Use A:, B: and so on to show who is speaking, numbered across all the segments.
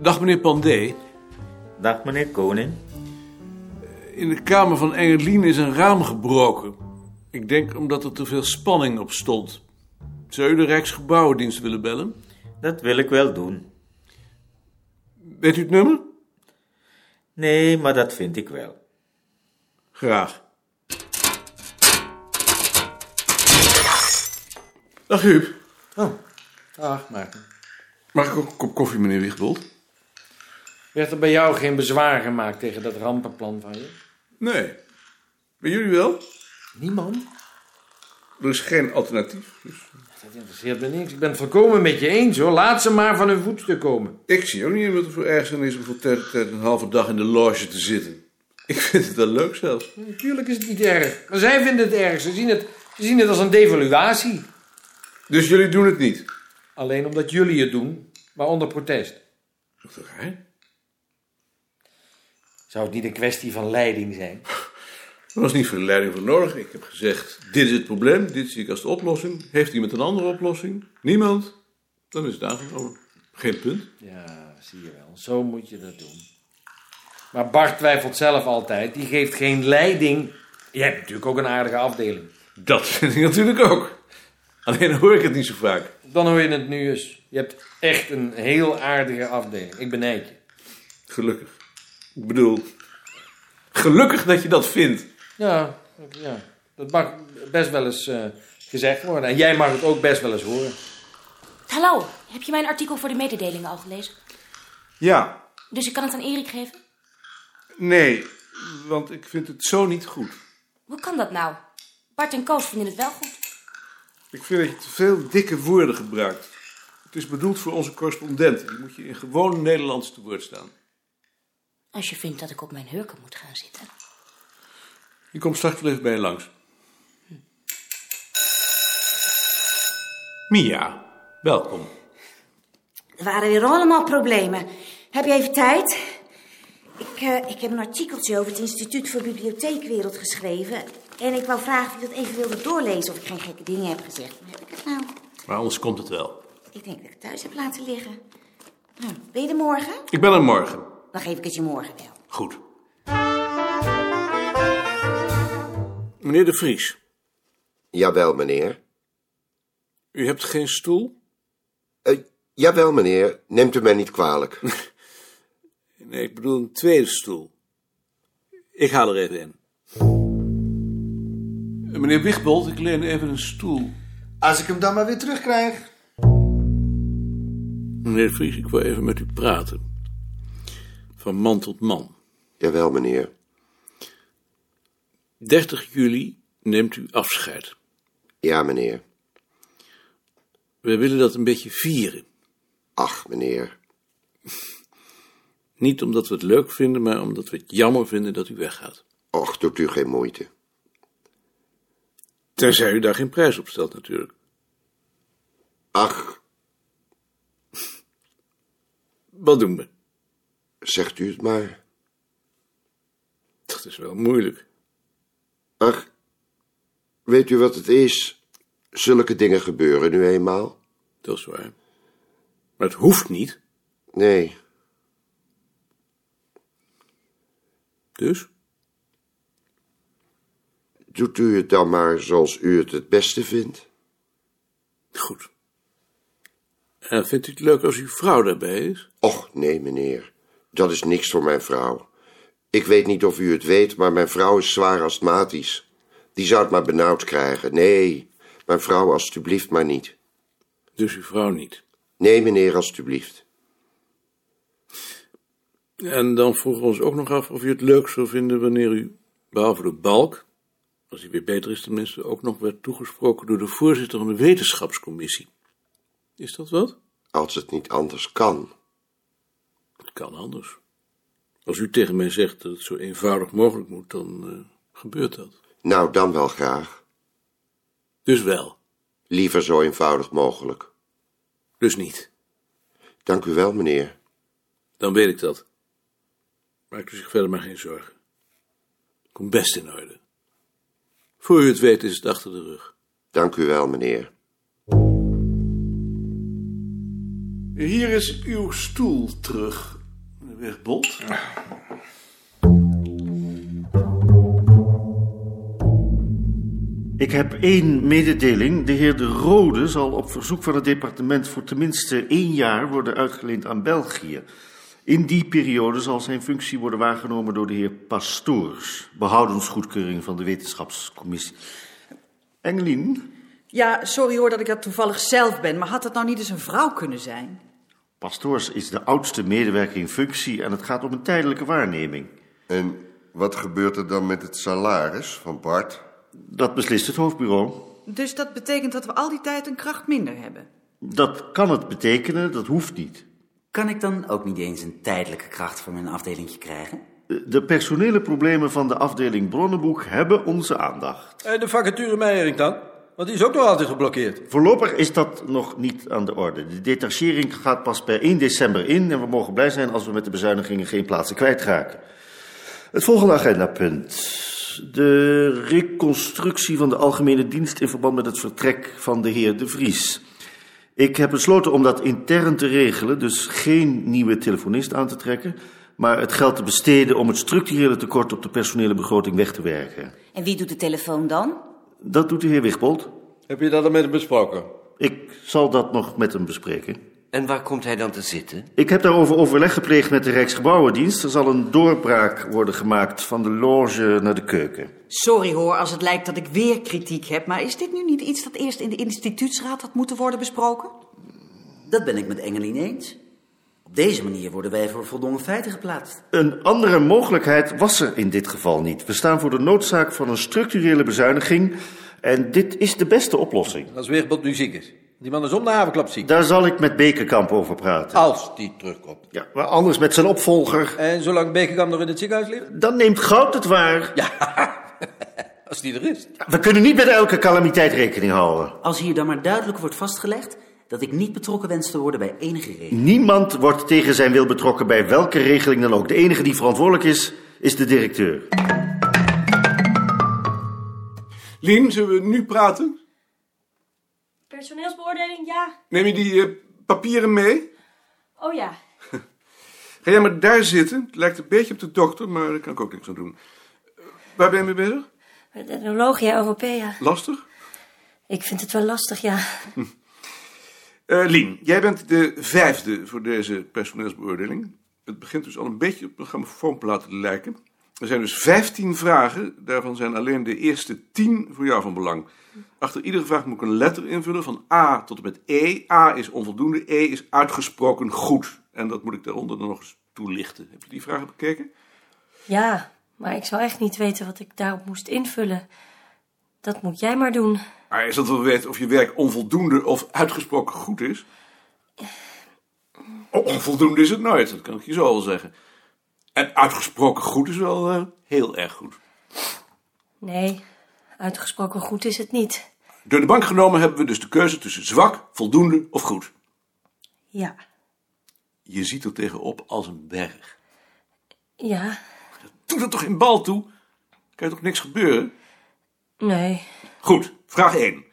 A: Dag meneer Pandé.
B: Dag meneer Koning.
A: In de kamer van Engeline is een raam gebroken. Ik denk omdat er te veel spanning op stond. Zou u de Rijksgebouwendienst willen bellen?
B: Dat wil ik wel doen.
A: Weet u het nummer?
B: Nee, maar dat vind ik wel.
A: Graag. Dag Huub.
C: Dag, Maarten.
A: Mag ik ook een kop koffie, meneer Wiegbold?
C: Werd er bij jou geen bezwaar gemaakt tegen dat rampenplan van je?
A: Nee. Bij jullie wel?
C: Niemand?
A: Er is geen alternatief. dus-
C: Dat interesseert me niks. Ik ben het volkomen met je eens, hoor. Laat ze maar van hun voetstuk komen.
A: Ik zie ook niet in wat er voor ergens aan is om voor tijd tot tijd een halve dag in de loge te zitten. Ik vind het wel leuk zelfs.
C: Natuurlijk is het niet erg. Maar zij vinden het erg. Ze zien het, ze zien het als een devaluatie.
A: Dus jullie doen het niet?
C: Alleen omdat jullie het doen, maar onder protest.
A: Wat raar.
C: Zou het niet een kwestie van leiding zijn?
A: Er was niet veel leiding voor nodig. Ik heb gezegd, dit is het probleem, dit zie ik als de oplossing. Heeft iemand een andere oplossing? Niemand? Dan is het aangenomen. Geen punt.
C: Ja, zie je wel. Zo moet je dat doen. Maar Bart twijfelt zelf altijd. Die geeft geen leiding. Je hebt natuurlijk ook een aardige afdeling.
A: Dat vind ik natuurlijk ook. Alleen hoor ik het niet zo vaak.
C: Dan hoor je het nu eens. Je hebt echt een heel aardige afdeling. Ik benijd je.
A: Gelukkig. Ik bedoel, gelukkig dat je dat vindt.
C: Ja, ja. dat mag best wel eens eh, gezegd worden. En jij mag het ook best wel eens horen.
D: Hallo, heb je mijn artikel voor de mededelingen al gelezen?
A: Ja,
D: Dus ik kan het aan Erik geven?
A: nee, want ik vind het zo niet goed.
D: Hoe kan dat nou? Bart en Koos vinden het wel goed.
A: Ik vind dat je te veel dikke woorden gebruikt. Het is bedoeld voor onze correspondenten. Die moet je in gewoon Nederlands te woord staan.
D: Als je vindt dat ik op mijn hurken moet gaan zitten.
A: Die komt straks wel even bij je langs. Mia, welkom.
E: Er waren weer allemaal problemen. Heb je even tijd? Ik, eh, ik heb een artikeltje over het Instituut voor Bibliotheekwereld geschreven. En ik wou vragen of je dat even wilde doorlezen of ik geen gekke dingen heb gezegd. Maar heb ik het nou?
A: Maar anders komt het wel.
E: Ik denk dat ik het thuis heb laten liggen. Nou, ben je er morgen?
A: Ik ben er morgen.
E: Dan geef ik het je morgen wel.
A: Goed. Meneer De Vries,
F: Jawel, meneer.
A: u hebt geen stoel?
F: Eh, jawel, meneer. Neemt u mij niet kwalijk.
A: Nee, ik bedoel een tweede stoel. Ik haal er even in. Eh, Meneer Wigbold, ik leen even een stoel.
G: Als ik hem dan maar weer terugkrijg.
A: Meneer De Vries, ik wil even met u praten. Van man tot man.
F: Jawel, meneer.
A: 30 juli neemt u afscheid.
F: Ja, meneer.
A: We willen dat een beetje vieren.
F: Ach, meneer.
A: Niet omdat we het leuk vinden, maar omdat we het jammer vinden dat u weggaat.
F: Och, doet u geen moeite.
A: Tenzij u daar geen prijs op stelt natuurlijk.
F: Ach,
A: Wat doen we?
F: zegt u het maar.
A: Dat is wel moeilijk.
F: Ach, weet u wat het is? Zulke dingen gebeuren nu eenmaal.
A: Dat is waar. Maar het hoeft niet.
F: Nee,
A: Dus?
F: doet u het dan maar zoals u het het beste vindt.
A: Goed. En vindt u het leuk als uw vrouw daarbij is?
F: Och, nee, meneer. Dat is niks voor mijn vrouw. Ik weet niet of u het weet, maar mijn vrouw is zwaar astmatisch. Die zou het maar benauwd krijgen. Nee, mijn vrouw alstublieft maar niet.
A: Dus uw vrouw niet.
F: Nee, meneer, alstublieft.
A: En dan vroegen we ons ook nog af of u het leuk zou vinden wanneer u, behalve de balk, als hij weer beter is tenminste, ook nog werd toegesproken door de voorzitter van de wetenschapscommissie. Is dat wat?
F: Als het niet anders kan.
A: Het kan anders. Als u tegen mij zegt dat het zo eenvoudig mogelijk moet, dan eh, gebeurt dat.
F: Nou, dan wel graag.
A: Dus wel.
F: Liever zo eenvoudig mogelijk.
A: Dus niet.
F: Dank u wel, meneer.
A: Dan weet ik dat. Maakt u zich verder maar geen zorgen. Komt best in orde. Voor u het weet is het achter de rug.
F: Dank u wel, meneer.
A: Hier is uw stoel terug.
H: u echt bot?
I: Ik heb één mededeling. De heer De Rode zal op verzoek van het departement voor tenminste één jaar worden uitgeleend aan België. In die periode zal zijn functie worden waargenomen door de heer Pastoors, behoudens goedkeuring van de wetenschapscommissie. Engelien,
J: Ja, sorry hoor dat ik dat toevallig zelf ben, maar had dat nou niet eens een vrouw kunnen zijn?
I: Pastoors is de oudste medewerker in functie en het gaat om een tijdelijke waarneming.
F: En wat gebeurt er dan met het salaris van Bart?
I: Dat beslist het hoofdbureau.
J: Dus dat betekent dat we al die tijd een kracht minder hebben.
I: Dat kan het betekenen, dat hoeft niet.
K: Kan ik dan ook niet eens een tijdelijke kracht voor mijn afdelingje krijgen?
I: De personele problemen van de afdeling Bronnenboek hebben onze aandacht.
L: En Eh, de vacature Meijering dan? Want die is ook nog altijd geblokkeerd.
I: Voorlopig is dat nog niet aan de orde. De detachering gaat pas per 1 december in en we mogen blij zijn als we met de bezuinigingen geen plaatsen kwijtraken. Het volgende agendapunt. De reconstructie van de algemene dienst in verband met het vertrek van de heer De Vries. Ik heb besloten om dat intern te regelen, dus geen nieuwe telefonist aan te trekken, maar het geld te besteden om het structurele tekort op de personele begroting weg te werken.
M: En wie doet de telefoon dan?
I: Dat doet de heer Wigbold.
L: Heb je dat al met hem besproken?
I: Ik zal dat nog met hem bespreken.
K: En waar komt hij dan te zitten?
I: Ik heb daarover overleg gepleegd met de Rijksgebouwendienst. Er zal een doorbraak worden gemaakt van de loge naar de keuken.
J: Sorry hoor als het lijkt dat ik weer kritiek heb, maar is dit nu niet iets dat eerst in de instituutsraad had moeten worden besproken?
K: Dat ben ik met Engelien eens. Op deze manier worden wij voor voldongen feiten geplaatst.
I: Een andere mogelijkheid was er in dit geval niet. We staan voor de noodzaak van een structurele bezuiniging. En dit is de beste oplossing.
L: Als Weerbond nu ziek is. Die man is om de havenklap ziek.
I: Daar zal ik met Bekenkamp over praten.
L: Als die terugkomt.
I: Ja, maar anders met zijn opvolger.
L: En zolang Bekenkamp nog in het ziekenhuis ligt?
I: Dan neemt goud het waar.
L: Als die er is.
I: We kunnen niet met elke calamiteit rekening houden.
K: Als hier dan maar duidelijk wordt vastgelegd dat ik niet betrokken wens te worden bij enige reden.
I: Niemand wordt tegen zijn wil betrokken bij welke regeling dan ook. De enige die verantwoordelijk is, is de directeur.
A: Lien, zullen we nu praten?
E: Personeelsbeoordeling, ja.
A: Neem je die eh, papieren mee?
E: Oh ja.
A: Ga jij maar daar zitten. Het lijkt een beetje op de dokter, maar daar kan ik ook niks aan doen. Eh, Waar ben je mee bezig?
E: Met etnologia Europea.
A: Lastig?
E: Ik vind het wel lastig, ja.
A: Eh, Lien, jij bent de vijfde voor deze personeelsbeoordeling. Het begint dus al een beetje op een grammofoonplaat te lijken. Er zijn dus vijftien vragen. Daarvan zijn alleen de eerste tien voor jou van belang. Achter iedere vraag moet ik een letter invullen van A tot en met E. A is onvoldoende, E is uitgesproken goed. En dat moet ik daaronder dan nog eens toelichten. Heb je die vragen bekeken?
E: Ja, maar ik zou echt niet weten wat ik daarop moest invullen. Dat moet jij maar doen.
A: Maar is dat wel weten of je werk onvoldoende of uitgesproken goed is? Oh, Onvoldoende is het nooit, dat kan ik je zo al zeggen. En uitgesproken goed is wel eh, heel erg goed.
E: Nee, uitgesproken goed is het niet.
A: Door de bank genomen hebben we dus de keuze tussen zwak, voldoende of goed.
E: Ja.
A: Je ziet er tegenop als een berg.
E: Ja.
A: Doe dat toch in bal toe? Kan er toch niks gebeuren?
E: Nee.
A: Goed, vraag 1.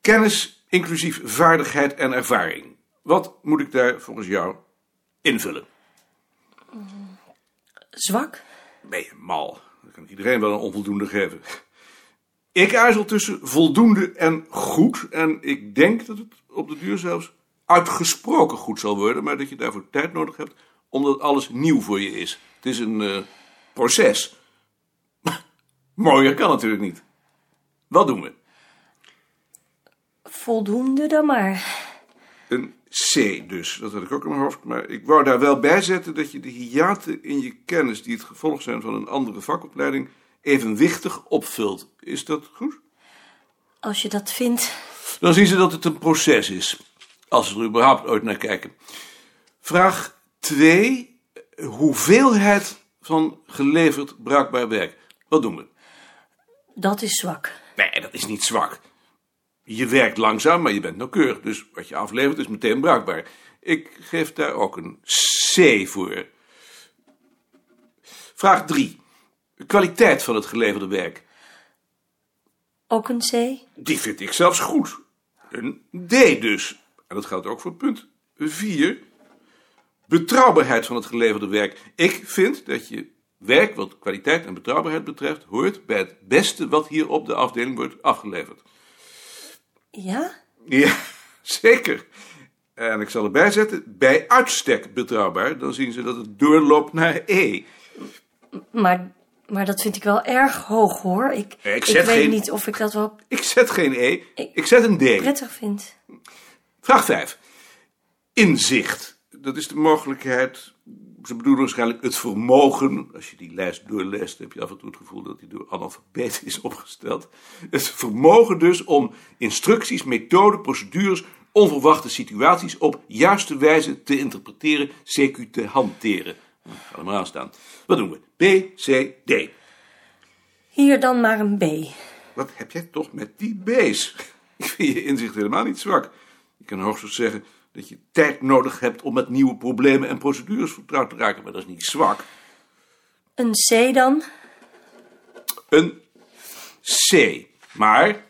A: Kennis inclusief vaardigheid en ervaring. Wat moet ik daar volgens jou invullen?
E: Zwak?
A: Ben je mal? Dan kan ik iedereen wel een onvoldoende geven. Ik aarzel tussen voldoende en goed. En ik denk dat het op de duur zelfs uitgesproken goed zal worden. Maar dat je daarvoor tijd nodig hebt, omdat alles nieuw voor je is. Het is een eh, proces. Mooier kan natuurlijk niet. Wat doen we?
E: Voldoende dan maar.
A: Een C dus, dat had ik ook in mijn hoofd. Maar ik wou daar wel bij zetten dat je de hiaten in je kennis... die het gevolg zijn van een andere vakopleiding... evenwichtig opvult. Is dat goed?
E: Als je dat vindt.
A: Dan zien ze dat het een proces is. Als ze er überhaupt ooit naar kijken. Vraag 2. Hoeveelheid van geleverd bruikbaar werk. Wat doen we?
E: Dat is zwak.
A: Nee, dat is niet zwak. Je werkt langzaam, maar je bent nauwkeurig. Dus wat je aflevert is meteen bruikbaar. Ik geef daar ook een C voor. Vraag 3. Kwaliteit van het geleverde werk.
E: Ook een C?
A: Die vind ik zelfs goed. Een D dus. En dat geldt ook voor punt 4. Betrouwbaarheid van het geleverde werk. Ik vind dat je werk wat kwaliteit en betrouwbaarheid betreft... hoort bij het beste wat hier op de afdeling wordt afgeleverd.
E: Ja?
A: Ja, zeker. En ik zal erbij zetten, bij uitstek betrouwbaar. Dan zien ze dat het doorloopt naar E.
E: Maar, maar dat vind ik wel erg hoog, hoor. Ik,
A: Ik
E: ik
A: zet
E: weet
A: geen-
E: niet of ik dat wel
A: Ik zet geen E, ik zet een D.
E: prettig vind.
A: Vraag 5. Inzicht. Dat is de mogelijkheid, ze bedoelen waarschijnlijk het vermogen. Als je die lijst doorleest, heb je af en toe het gevoel dat die door analfabeten is opgesteld. Het vermogen dus om instructies, methoden, procedures, onverwachte situaties op juiste wijze te interpreteren, CQ te hanteren. Ga er maar aan staan. Wat doen we? B, C, D.
E: Hier dan maar een B.
A: Wat heb jij toch met die bees? Ik vind je inzicht helemaal niet zwak. Je kan hoogstens zeggen dat je tijd nodig hebt om met nieuwe problemen en procedures vertrouwd te raken, maar dat is niet zwak.
E: Een C dan?
A: Een C, maar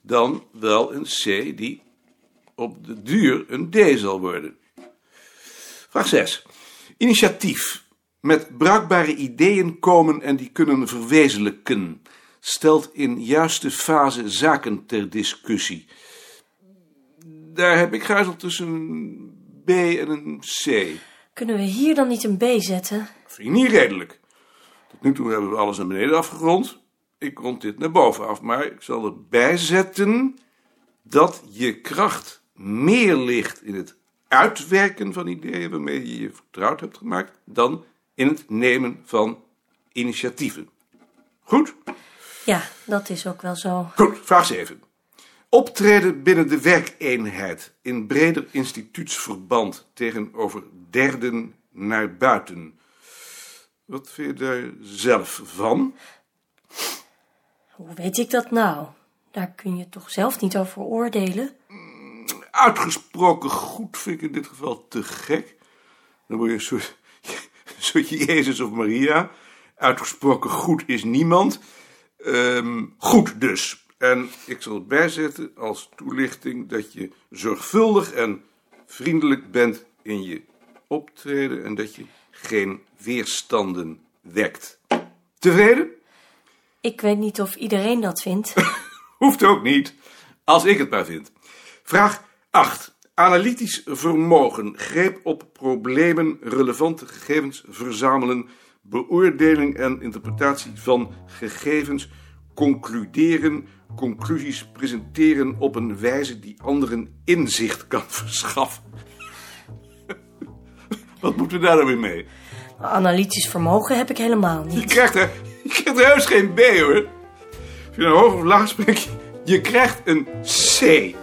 A: dan wel een C die op de duur een D zal worden. Vraag 6. Initiatief. Met bruikbare ideeën komen en die kunnen verwezenlijken. Stelt in juiste fase zaken ter discussie. Daar heb ik graazel tussen een B en een C.
E: Kunnen we hier dan niet een B zetten?
A: Vind je niet redelijk? Tot nu toe hebben we alles naar beneden afgerond. Ik rond dit naar boven af, maar ik zal erbij zetten dat je kracht meer ligt in het uitwerken van ideeën waarmee je je vertrouwd hebt gemaakt dan in het nemen van initiatieven. Goed?
E: Ja, dat is ook wel zo.
A: Goed, vraag 7. Optreden binnen de werkeenheid in breder instituutsverband tegenover derden naar buiten. Wat vind je daar zelf van?
E: Hoe weet ik dat nou? Daar kun je toch zelf niet over oordelen?
A: Mm, Uitgesproken goed vind ik in dit geval te gek. Dan word je een soort, een soort Jezus of Maria. Uitgesproken goed is niemand. Ehm, goed dus. En ik zal het bijzetten als toelichting dat je zorgvuldig en vriendelijk bent in je optreden en dat je geen weerstanden wekt. Tevreden?
E: Ik weet niet of iedereen dat vindt.
A: Hoeft ook niet, als ik het maar vind. Vraag 8. Analytisch vermogen, greep op problemen, relevante gegevens verzamelen, beoordeling en interpretatie van gegevens, concluderen, conclusies presenteren op een wijze die anderen inzicht kan verschaffen. Wat moeten we daar dan weer mee?
E: Analytisch vermogen heb ik helemaal niet.
A: Je krijgt er, je krijgt er heus geen B hoor. Als je nou hoog of laag spreekt, je krijgt een C.